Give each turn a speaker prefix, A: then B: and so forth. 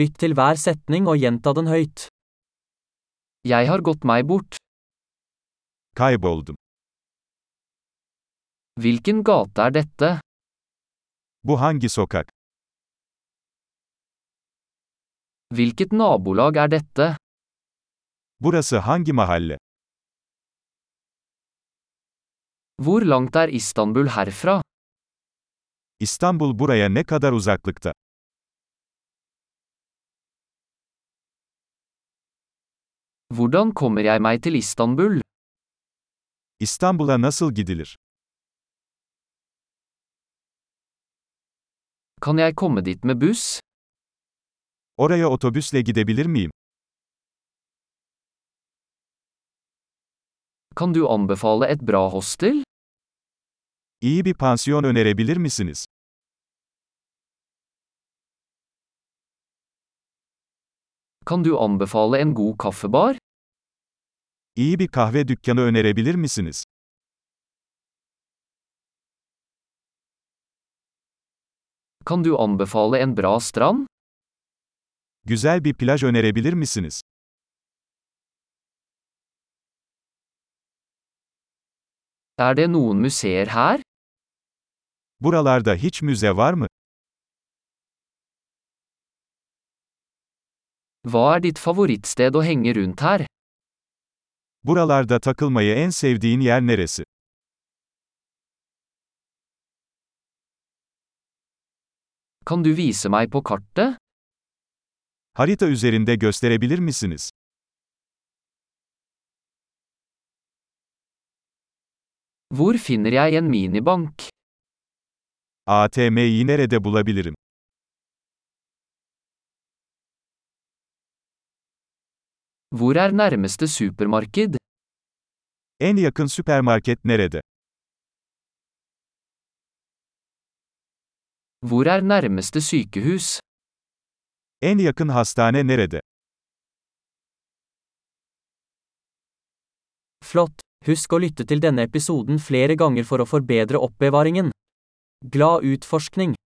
A: Lytt til hver setning og gjenta den høyt. Jeg har gått meg bort.
B: Kayboldum.
A: Hvilken gate er dette?
B: Bu hangi sokak?
A: Hvilket nabolag er dette?
B: Burası hangi mahalle?
A: Hvor langt er Istanbul herfra?
B: İstanbul buraya ne kadar uzaklıkta?
A: Hvordan kommer jeg meg til Istanbul?
B: İstanbul'a nasıl gidilir?
A: Kan jeg komme dit med buss?
B: Oraya otobüsle gidebilir miyim?
A: Kan du anbefale et bra hostel?
B: İyi bir pansiyon önerebilir misiniz?
A: Kan du anbefale en god kaffebar?
B: İyi bir kahve dükkanı önerebilir misiniz?
A: Kan du anbefale en bra strand?
B: Güzel bir plaj önerebilir misiniz?
A: Er det noen museer her?
B: Buralarda hiç müze var mı?
A: Hva er ditt favorittsted å henge rundt her?
B: Buralarda takılmayı en sevdiğin yer neresi?
A: Kan du vise meg på kartet?
B: Harita üzerinde gösterebilir misiniz?
A: Hvor finner jeg en minibank?
B: ATM'yi nerede bulabilirim?
A: Hvor er nærmeste supermarked?
B: En yakın süpermarket nerede?
A: Hvor er nærmeste sykehus?
B: En yakın hastane nerede?
A: Flott! Husk å lytte til denne episoden flere ganger for å forbedre oppbevaringen. Glad utforskning!